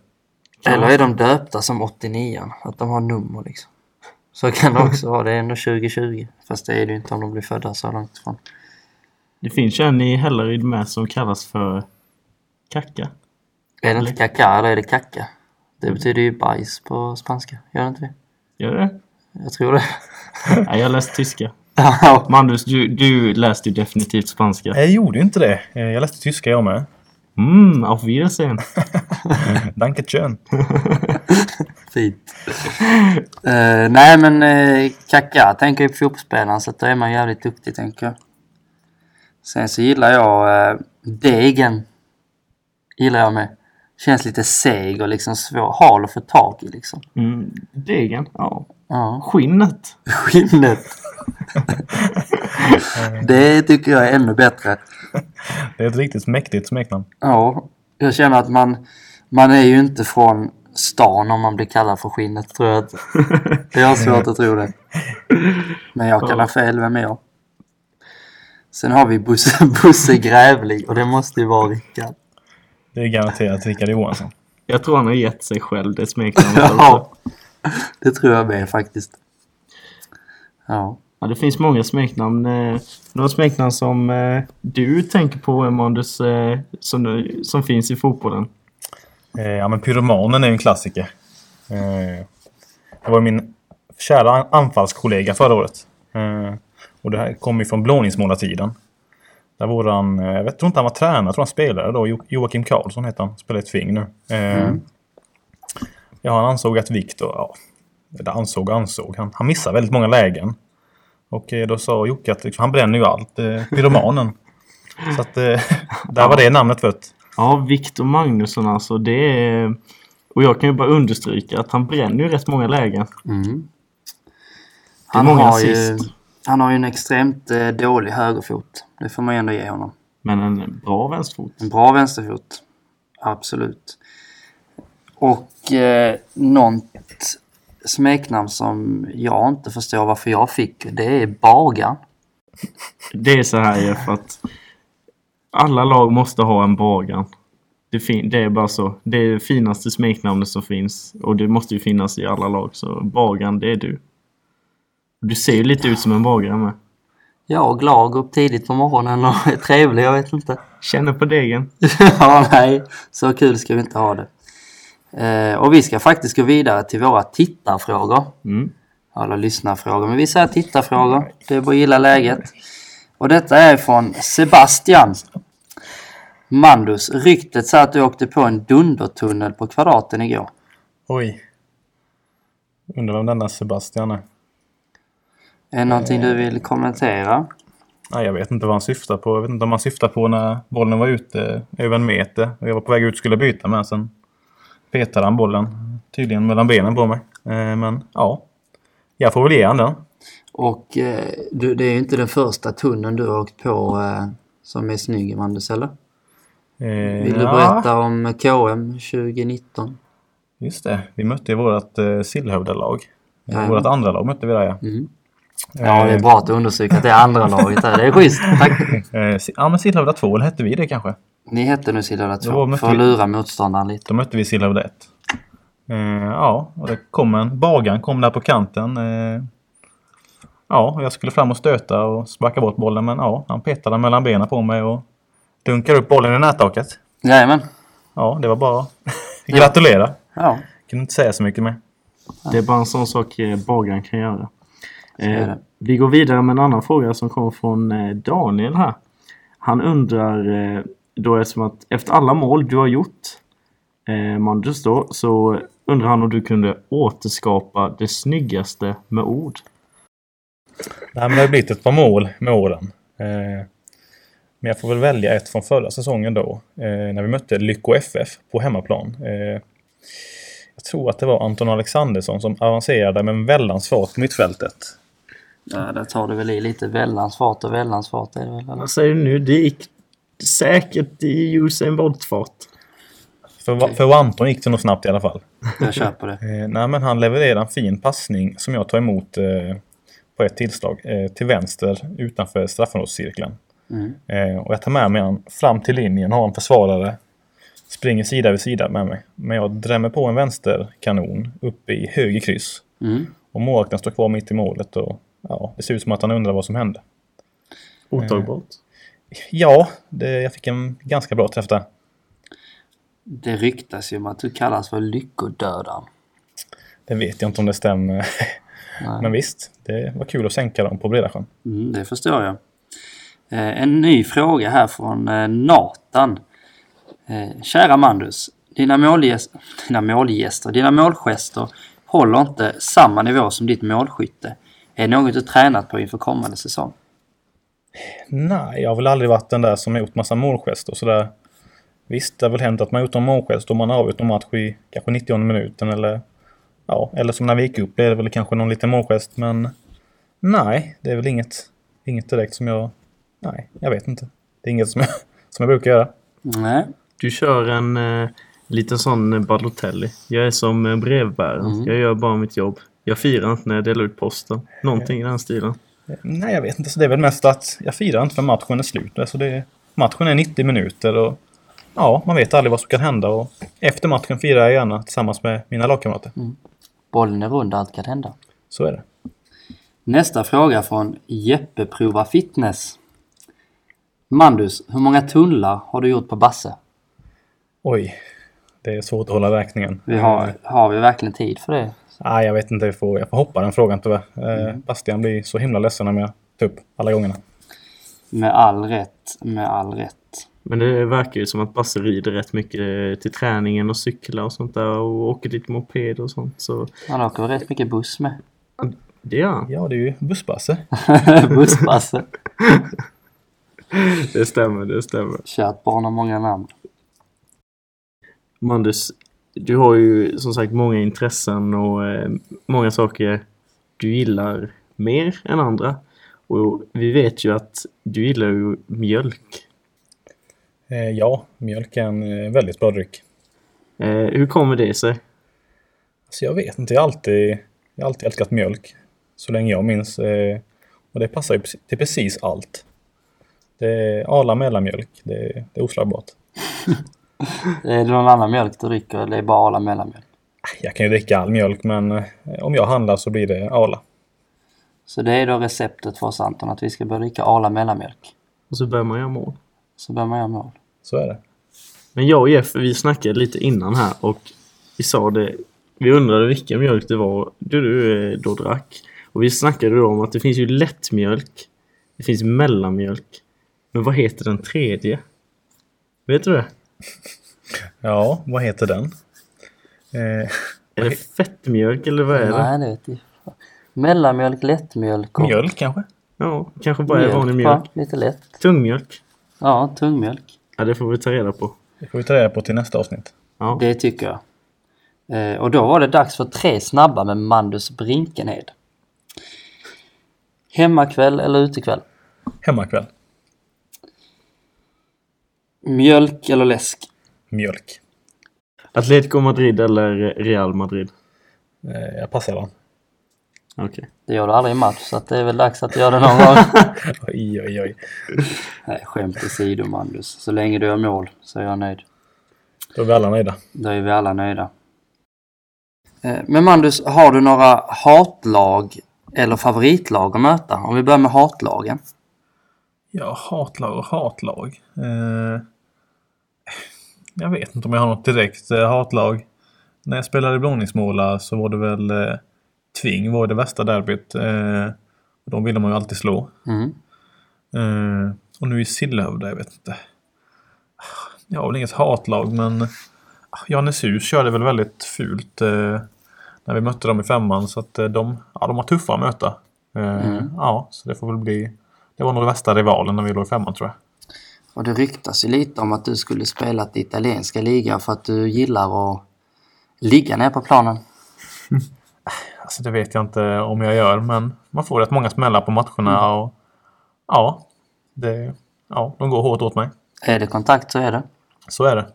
S1: Eller är de döpta som 89 Att de har nummer liksom. Så kan det också vara. Det är ändå 2020. Fast det är det ju inte om de blir födda så långt ifrån.
S3: Det finns ju en i Hällaryd med som kallas för Kacka.
S1: Är det inte kaka eller är det kacka? Det betyder ju bajs på spanska. Gör det inte det?
S3: Gör det?
S1: Jag tror det.
S3: Nej, jag läste tyska. Mandus, du, du läste ju definitivt spanska.
S2: Jag gjorde ju inte det. Eh, Jag läste tyska jag med.
S3: Mm, auf Wiedersehen.
S2: Danke schön.
S1: Fint. Eh, nej men uh, Kaka tänker ju på fotbollsspelaren så att då är man jävligt duktig tänker jag. Sen så gillar jag eh, degen. Gillar jag med. Känns lite seg och liksom svår, hal att få tag i liksom.
S3: Mm, degen, ja.
S1: Ja,
S3: Skinnet.
S1: skinnet. det tycker jag är ännu bättre.
S2: Det är ett riktigt mäktigt smeknamn.
S1: Ja, jag känner att man, man är ju inte från stan om man blir kallad för skinnet tror jag. Att, jag har svårt att tro det. Men jag kan ha fel, vem är jag? Sen har vi Bosse, Bosse Grävling och det måste ju vara Rickard.
S2: Det är garanterat Rickard Johansson.
S3: Jag tror han har gett sig själv det smeknamnet.
S1: Ja,
S3: också.
S1: det tror jag med faktiskt. Ja.
S3: ja, det finns många smeknamn. eh, Några smeknamn som eh, du tänker på, Mandus, eh, som, nu- som finns i fotbollen.
S2: Eh, ja, men Pyromanen är ju en klassiker. Eh, det var min kära an- anfallskollega förra året. Eh, och det här kommer ju från blåningsmålartiden. Där våran, eh, jag vet, tror inte han var tränare, jag tror han spelade då. Jo- Joakim Karlsson heter han, spelar i Tving nu. Eh, Ja, han ansåg att Viktor, ja, eller ansåg och ansåg, han, han missar väldigt många lägen. Och eh, då sa Jocke att liksom, han bränner ju allt, eh, pyromanen. Så att eh, där var det namnet fött.
S3: Ja, Viktor Magnusson alltså. Det är... Och jag kan ju bara understryka att han bränner ju rätt många lägen.
S1: Mm.
S3: Det är
S1: Han,
S3: många
S1: har ju,
S3: assist.
S1: han har ju en extremt eh, dålig högerfot. Det får man ju ändå ge honom.
S3: Men en bra vänsterfot.
S1: En bra vänsterfot. Absolut. Och eh, något smeknamn som jag inte förstår varför jag fick, det är Bagan.
S3: Det är så här Jeff att alla lag måste ha en Bagan. Det, fin- det är bara så. Det är det finaste smeknamnet som finns och det måste ju finnas i alla lag. Så Bagan, det är du. Du ser ju lite ut som en bagare med.
S1: Ja, och glad, går upp tidigt på morgonen och är trevlig, jag vet inte.
S3: Känner på degen.
S1: ja, nej, så kul ska vi inte ha det. Eh, och vi ska faktiskt gå vidare till våra tittarfrågor.
S3: Mm.
S1: Eller lyssnarfrågor, men vi säger tittarfrågor. Det är bara att gilla läget. Och detta är från Sebastian. Mandus, ryktet säger att du åkte på en dundertunnel på Kvadraten igår.
S2: Oj. Undrar vem denna Sebastian är.
S1: Är det någonting du vill kommentera?
S2: Nej, jag vet inte vad han syftar på. Jag vet inte om han syftar på när bollen var ute över en meter. Och jag var på väg ut och skulle byta men sen petade han bollen tydligen mellan benen på mig. Eh, Men ja, jag får väl ge han den.
S1: Och eh, du, det är ju inte den första tunneln du har åkt på eh, som är snygg, Mandus, eller?
S2: Eh,
S1: Vill du berätta om KM 2019?
S2: Just det, vi mötte ju vårt eh, Sillhövdalag.
S1: Jajamän.
S2: Eh, vårt andra lag mötte vi där ja.
S1: Mm. Ja, det är bra att du understryker att det är andra laget här. Det är schysst. Tack.
S2: Eh, Si- ja men Sillhövda 2, eller hette vi det kanske?
S1: Ni hette nu Sillhöda
S2: Då
S1: 2
S2: mötte
S1: för att
S2: vi-
S1: lura motståndaren lite.
S2: Då mötte vi Sillhövda 1. Eh, ja, och det kom en bagan kom där på kanten. Eh, ja, och jag skulle fram och stöta och sparka bort bollen men ja, han petade mellan benen på mig och dunkade upp bollen i nättaket.
S1: Jajamän.
S2: Ja, det var bara gratulera.
S1: Ja,
S2: Kunde inte säga så mycket mer.
S3: Det är bara en sån sak eh, bagaren kan göra.
S1: är
S3: Eh,
S1: det.
S3: vi går vidare med en annan fråga som kom från eh, Daniel här. Han undrar eh, då eftersom att efter alla mål du har gjort eh, Mandus då så undrar han om du kunde återskapa det snyggaste med ord.
S2: Nej, men det har blivit ett par mål med åren. Eh, men jag får väl välja ett från förra säsongen då. Eh, när vi mötte Lycko FF på hemmaplan. Eh, jag tror att det var Anton Alexandersson som avancerade men väldans fart på mittfältet.
S1: ja där tar du väl i lite. Vällans fart och vällans fart är det väl? Eller?
S3: Vad säger du nu? Det gick säkert i Usain Bolt-fart.
S2: För, va- för Anton gick det nog snabbt i alla fall.
S1: Jag köper det.
S2: Eh, nej, men han levererar en fin passning som jag tar emot eh, på ett tillslag eh, till vänster utanför straffområdescirkeln.
S1: Mm.
S2: Eh, och jag tar med mig han fram till linjen, har en försvarare. Springer sida vid sida med mig. Men jag drämmer på en vänsterkanon uppe i höger kryss.
S1: Mm.
S2: Och målvakten står kvar mitt i målet och ja, det ser ut som att han undrar vad som hände.
S3: Otagbart.
S2: Ja, det, jag fick en ganska bra träff där.
S1: Det ryktas ju om att du kallas för lyckodödaren.
S2: Det vet jag inte om det stämmer. Men visst, det var kul att sänka dem på Bredasjön.
S1: Mm, det förstår jag. Eh, en ny fråga här från eh, Nathan. Eh, kära Mandus, dina, målgäst, dina målgäster, dina målgester håller inte samma nivå som ditt målskytte. Är det något du tränat på inför kommande säsong?
S2: Nej, jag har väl aldrig varit den där som har gjort massa målgester och sådär. Visst, det har väl hänt att man har gjort en målgest och man har avgjort någon match i kanske 90 minuten eller... Ja, eller som när vi gick upp blev det väl kanske någon liten målgest, men... Nej, det är väl inget, inget direkt som jag... Nej, jag vet inte. Det är inget som jag, som jag brukar göra.
S1: Nej.
S3: Du kör en eh, liten sån eh, Balotelli. Jag är som eh, brevbäraren. Jag gör bara mitt jobb. Jag firar inte när jag delar ut posten. Någonting i den stilen.
S2: Nej, jag vet inte. Så det är väl mest att jag firar inte för matchen är slut. Alltså det, matchen är 90 minuter och... Ja, man vet aldrig vad som kan hända och efter matchen firar jag gärna tillsammans med mina lagkamrater.
S1: Bollen är rund, allt kan hända.
S2: Så är det.
S1: Nästa fråga från Jeppe Prova Fitness. Mandus, hur många tunnlar har du gjort på Basse?
S2: Oj, det är svårt att hålla räkningen.
S1: Vi har, har vi verkligen tid för det?
S2: Nej, jag vet inte. Jag får, jag får hoppa den frågan tyvärr.
S1: Mm.
S2: Eh, Bastian blir så himla ledsen om jag tar upp alla gångerna.
S1: Med all rätt, med all rätt.
S3: Men det verkar ju som att Basse rider rätt mycket eh, till träningen och cyklar och sånt där och åker lite moped och sånt. Så
S1: Han åker väl rätt mycket buss med.
S3: det gör han.
S2: Ja, det är ju bussbasse.
S1: Bussbasse.
S3: Det stämmer, det stämmer.
S1: Kärt barn har många namn.
S3: Mandus, du har ju som sagt många intressen och eh, många saker du gillar mer än andra. Och vi vet ju att du gillar ju mjölk.
S2: Eh, ja, mjölk är en eh, väldigt bra dryck.
S3: Eh, hur kommer det sig?
S2: Alltså, jag vet inte. Jag har alltid, jag har alltid älskat mjölk. Så länge jag minns. Eh, och det passar ju precis- till precis allt. Det är Arla mellanmjölk. Det, är- det är oslagbart.
S1: Är det någon annan mjölk du dricker eller är det bara Arla mellanmjölk?
S2: Ah, Jag kan ju dricka all mjölk men eh, om jag handlar så blir det Arla.
S1: Så det är då receptet för oss Anton, att vi ska börja dricka Arla mellanmjölk.
S3: Och så börjar man göra mål.
S1: Så börjar man göra mål.
S2: Så är det.
S3: Men jag och Jeff, vi snackade lite innan här och vi sa det. Vi undrade vilken mjölk det var du, du eh, då drack. Och vi snackade då om att det finns ju lättmjölk. Det finns mellanmjölk. Men vad heter den tredje? Vet du det?
S2: Ja, vad heter den? Eh,
S3: Är det fettmjölk eller vad är
S1: Nej,
S3: det?
S1: det vet jag inte. Mellanmjölk, lättmjölk och...
S2: mjölk kanske?
S3: Ja, kanske bara är vanlig
S1: va?
S3: mjölk.
S1: Lite lätt.
S3: Tungmjölk.
S1: Ja, tungmjölk.
S3: Ja, det får vi ta reda på.
S2: Det får vi ta reda på till nästa avsnitt.
S3: Ja.
S1: Det tycker jag. Eh, och då var det dags för tre snabba med Mandus Brinkenhed. Hemmakväll eller utekväll?
S2: Hemmakväll.
S1: Mjölk eller läsk?
S2: Mjölk.
S3: Atletico Madrid eller Real Madrid?
S2: Eh, jag passar den.
S3: Okej.
S1: Det gör du aldrig i match, så att det är väl dags att göra det någon gång.
S2: Oj, oj, oj.
S1: Nej, skämt åsido Mandus. Så länge du gör mål så är jag nöjd.
S2: Då är vi alla nöjda.
S1: Då är vi alla nöjda. Eh, Men Mandus, har du några hatlag eller favoritlag att möta? Om vi börjar med hatlagen.
S2: Ja, hatlag och hatlag. Eh, jag vet inte om jag har något direkt eh, hatlag. När jag spelade i Blåningsmåla så var det väl eh, Tving var det värsta derbyt. Eh, och de ville man ju alltid slå.
S1: Mm.
S2: Eh, och nu i Sillhövda, jag vet inte. Jag har väl inget hatlag, men Johanneshus körde väl väldigt fult eh, när vi mötte dem i femman. Så att eh, de, ja, de var tuffa att möta. Eh, Ja, så det får väl bli... Det var nog den värsta rivalen när vi låg i femman tror jag.
S1: Och det ryktas ju lite om att du skulle spela i italienska ligan för att du gillar att ligga ner på planen.
S2: Alltså det vet jag inte om jag gör, men man får rätt många smällar på matcherna och ja, det, ja, de går hårt åt mig.
S1: Är det kontakt så är det.
S2: Så är det.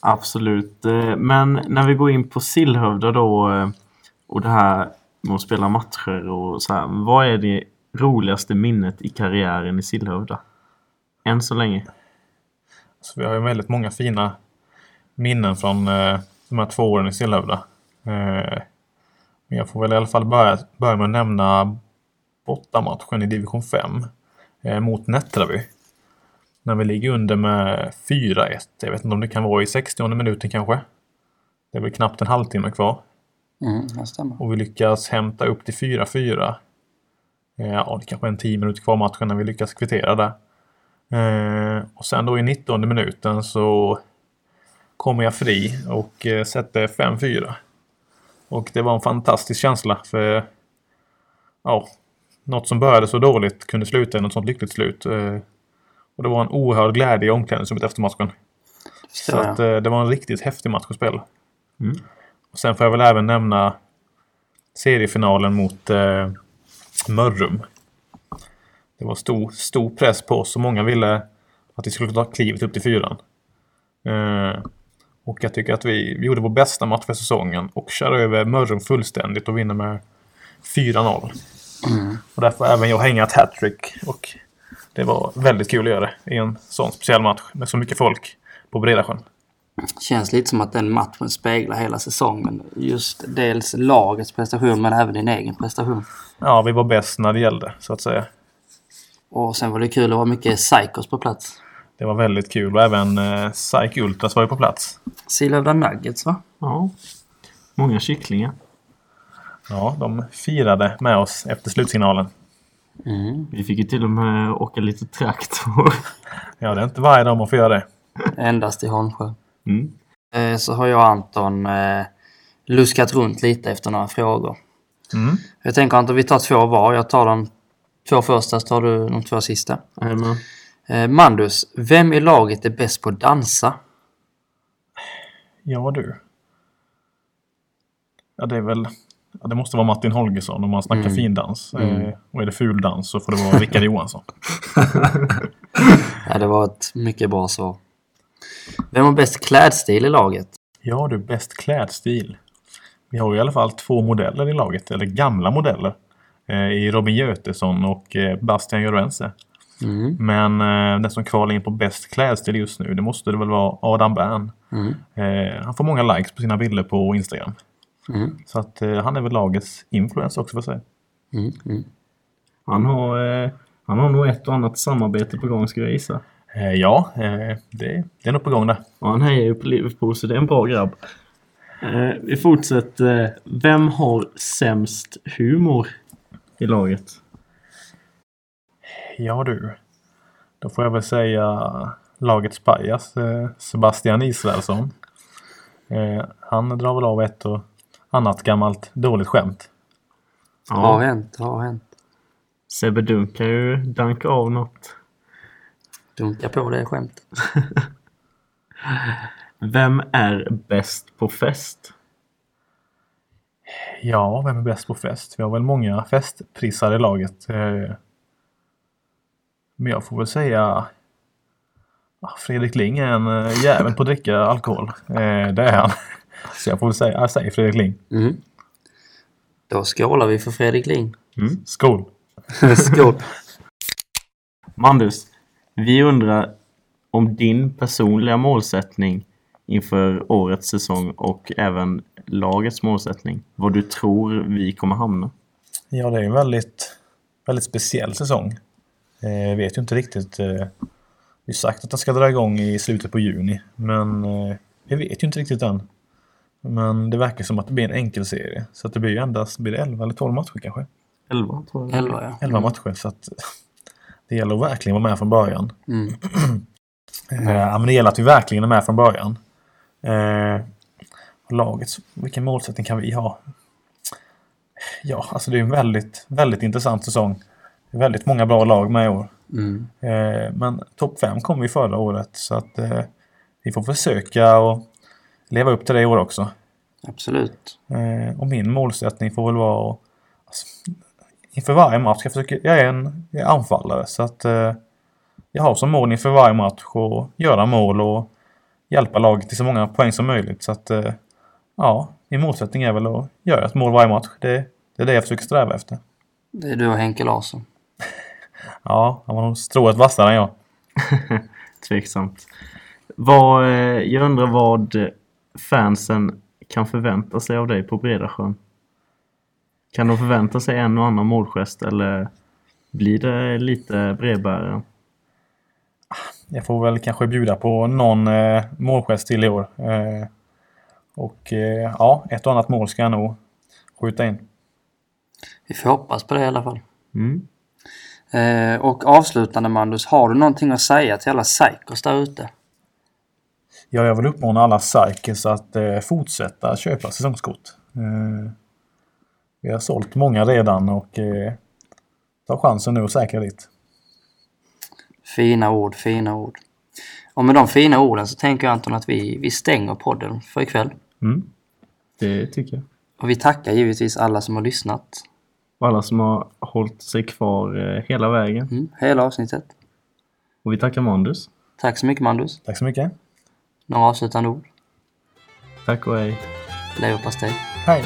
S3: Absolut. Eh, Men när vi går in på Sillhövda då eh, och det här med att spela matcher och så här. Vad är det roligaste minnet i karriären i Sillhövda? Än så länge.
S2: Så vi har ju väldigt många fina minnen från eh, de här två åren i Sillhövda. Eh, men jag får väl i alla fall börja, börja med att nämna bortamatchen i division 5 eh, mot Nättraby. När vi ligger under med 4-1. Jag vet inte om det kan vara i 60 minuten kanske. Det är väl knappt en halvtimme kvar.
S1: Mm, det stämmer.
S2: Och vi lyckas hämta upp till 4-4. Eh, Ja, det kanske är en 10 minuter kvar i matchen när vi lyckas kvittera där. Eh, Och sen då i 19 minuten så kommer jag fri och eh, sätter 5-4. Och det var en fantastisk känsla för ja, något som började så dåligt kunde sluta i något sånt lyckligt slut. Eh, Och det var en oerhörd glädje i omklädningsrummet efter matchen. Så
S1: Förstår
S2: att,
S1: jag.
S2: eh, det var en riktigt häftig match att spela. Och sen får jag väl även nämna seriefinalen mot eh, Mörrum. Det var stor, stor press på oss och många ville att vi skulle ta klivet upp till fyran. Eh, och jag tycker att vi, vi gjorde vår bästa match för säsongen och kör över Mörrum fullständigt och vinner med 4-0. Och där får även jag hänga ett hattrick. Och det var väldigt kul att göra det i en sån speciell match med så mycket folk på Bredasjön.
S1: Känns lite som att den matchen speglar hela säsongen. Just dels lagets prestation men även din egen prestation.
S2: Ja, vi var bäst när det gällde så att säga.
S1: Och sen var det kul att vara mycket psykos på plats.
S2: Det var väldigt kul och även eh, Psyche Ultras var ju på plats.
S1: Sillhövda Nuggets va?
S3: Ja. Många kycklingar.
S2: Ja, de firade med oss efter slutsignalen.
S3: Vi fick ju till och med åka lite traktor.
S2: Ja, det är inte varje dag man får göra det.
S1: Endast i Holmsjö.
S3: Mm.
S1: Eh, Så har jag och Anton eh, luskat runt lite efter några frågor.
S2: Mm.
S1: Jag tänker Anton, vi tar två var. Jag tar de två första så tar du de två sista.
S3: Jajamän.
S1: Eh, Mandus, vem i laget är bäst på att dansa?
S2: Ja, du. Ja, det är väl... Ja, det måste vara Martin Holgersson om man snackar findans. Eh, och är det fuldans så får det vara Rickard Johansson.
S1: Ja, det var ett mycket bra svar. Vem har bäst klädstil i laget?
S2: Ja, du. Bäst klädstil. Vi har ju i alla fall två modeller i laget, eller gamla modeller. Eh, I Robin Götesson och eh, Bastian Jorvense.
S1: Mm.
S2: Men eh, den som kvalar in på bäst klädstil just nu, det måste det väl vara Adam Bern.
S1: Mm.
S2: Eh, han får många likes på sina bilder på Instagram.
S1: Mm.
S2: Så att eh, han är väl lagets influencer också för sig.
S1: Mm. Mm.
S3: Han har, eh, han har nog ett och annat samarbete på gång ska jag gissa.
S2: Eh, ja, eh, det, det är nog på gång där.
S3: Och han hejar ju på Liverpool så det är en bra grabb. Eh, vi fortsätter. Eh, Vem har sämst humor i laget?
S2: Ja du. Då får jag väl säga lagets pajas eh, Sebastian Israelsson. Eh, Han drar väl av ett och annat gammalt dåligt skämt.
S1: Har hänt, har hänt.
S3: Sebbe Dunk kan ju danka av något.
S1: Dunka på det skämtet.
S3: Vem är bäst på fest?
S2: Ja, vem är bäst på fest? Vi har väl många festprisar i laget. eh. Men jag får väl säga ah, Fredrik Ling är en eh, jävel på att dricka alkohol. Eh, Det är han. Så jag får väl säga, jag säger Fredrik Ling.
S1: Mm. Då skålar vi för Fredrik Ling.
S2: Skål!
S1: Skål!
S3: Mandus, vi undrar om din personliga målsättning inför årets säsong och även lagets målsättning. Vad du tror vi kommer hamna.
S2: Ja, det är en väldigt, väldigt speciell säsong. Eh, vet ju inte riktigt. Eh, det är ju sagt att den ska dra igång i slutet på juni, men eh, vi vet ju inte riktigt än. Men det verkar som att det blir en enkel serie, så att det blir ju endast blir det 11 eller 12 matcher kanske.
S3: 11 tror jag.
S1: Elva, ja.
S2: 11 matcher, så att det gäller att verkligen vara med från början.
S1: Mm.
S2: Eh, ja, men det gäller att vi verkligen är med från början. Eh, och laget, vilken målsättning kan vi ha? Ja, alltså det är en väldigt, väldigt intressant säsong. Det är väldigt många bra lag med i år.
S1: Mm.
S2: Eh, men topp 5 kom vi förra året så att eh, vi får försöka och leva upp till det i år också.
S1: Absolut.
S2: Eh, och min målsättning får väl vara att alltså, inför varje match, jag, försöker, jag är en jag är anfallare så att eh, jag har som mål inför varje match att göra mål och hjälpa laget till så många poäng som möjligt. Så att eh, ja, min målsättning är väl att göra ett mål varje match. Det, det är det jag försöker sträva efter.
S1: Det är du och Henke Larsson.
S2: Ja, han var nog strået vassare än jag.
S3: Tveksamt. Vad, eh, jag undrar vad fansen kan förvänta sig av dig på Bredasjön? Kan de förvänta sig en och annan målgest eller blir det lite brevbärare?
S2: Jag får väl kanske bjuda på någon eh, målgest till i år. Eh, och eh, ja, ett och annat mål ska jag nog skjuta in.
S1: Vi får hoppas på det i alla fall.
S3: Mm.
S1: Eh, och avslutande Mandus, har du någonting att säga till alla psykos där ute?
S2: Ja, jag vill uppmana alla psykers att eh, fortsätta köpa säsongskort. Eh, vi har sålt många redan och eh, ta chansen nu och säkra ditt.
S1: Fina ord, fina ord. Och med de fina orden så tänker jag Anton att vi, vi stänger podden för ikväll.
S3: Mm. Det tycker jag.
S1: Och vi tackar givetvis alla som har lyssnat.
S3: Och alla som har hållit sig kvar eh, hela vägen.
S1: Mm, hela avsnittet.
S3: Och vi tackar Mandus.
S1: Tack så mycket Mandus.
S2: Tack så mycket.
S1: Några avslutande ord?
S3: Tack och hej.
S1: Leverpastej.
S2: Hej!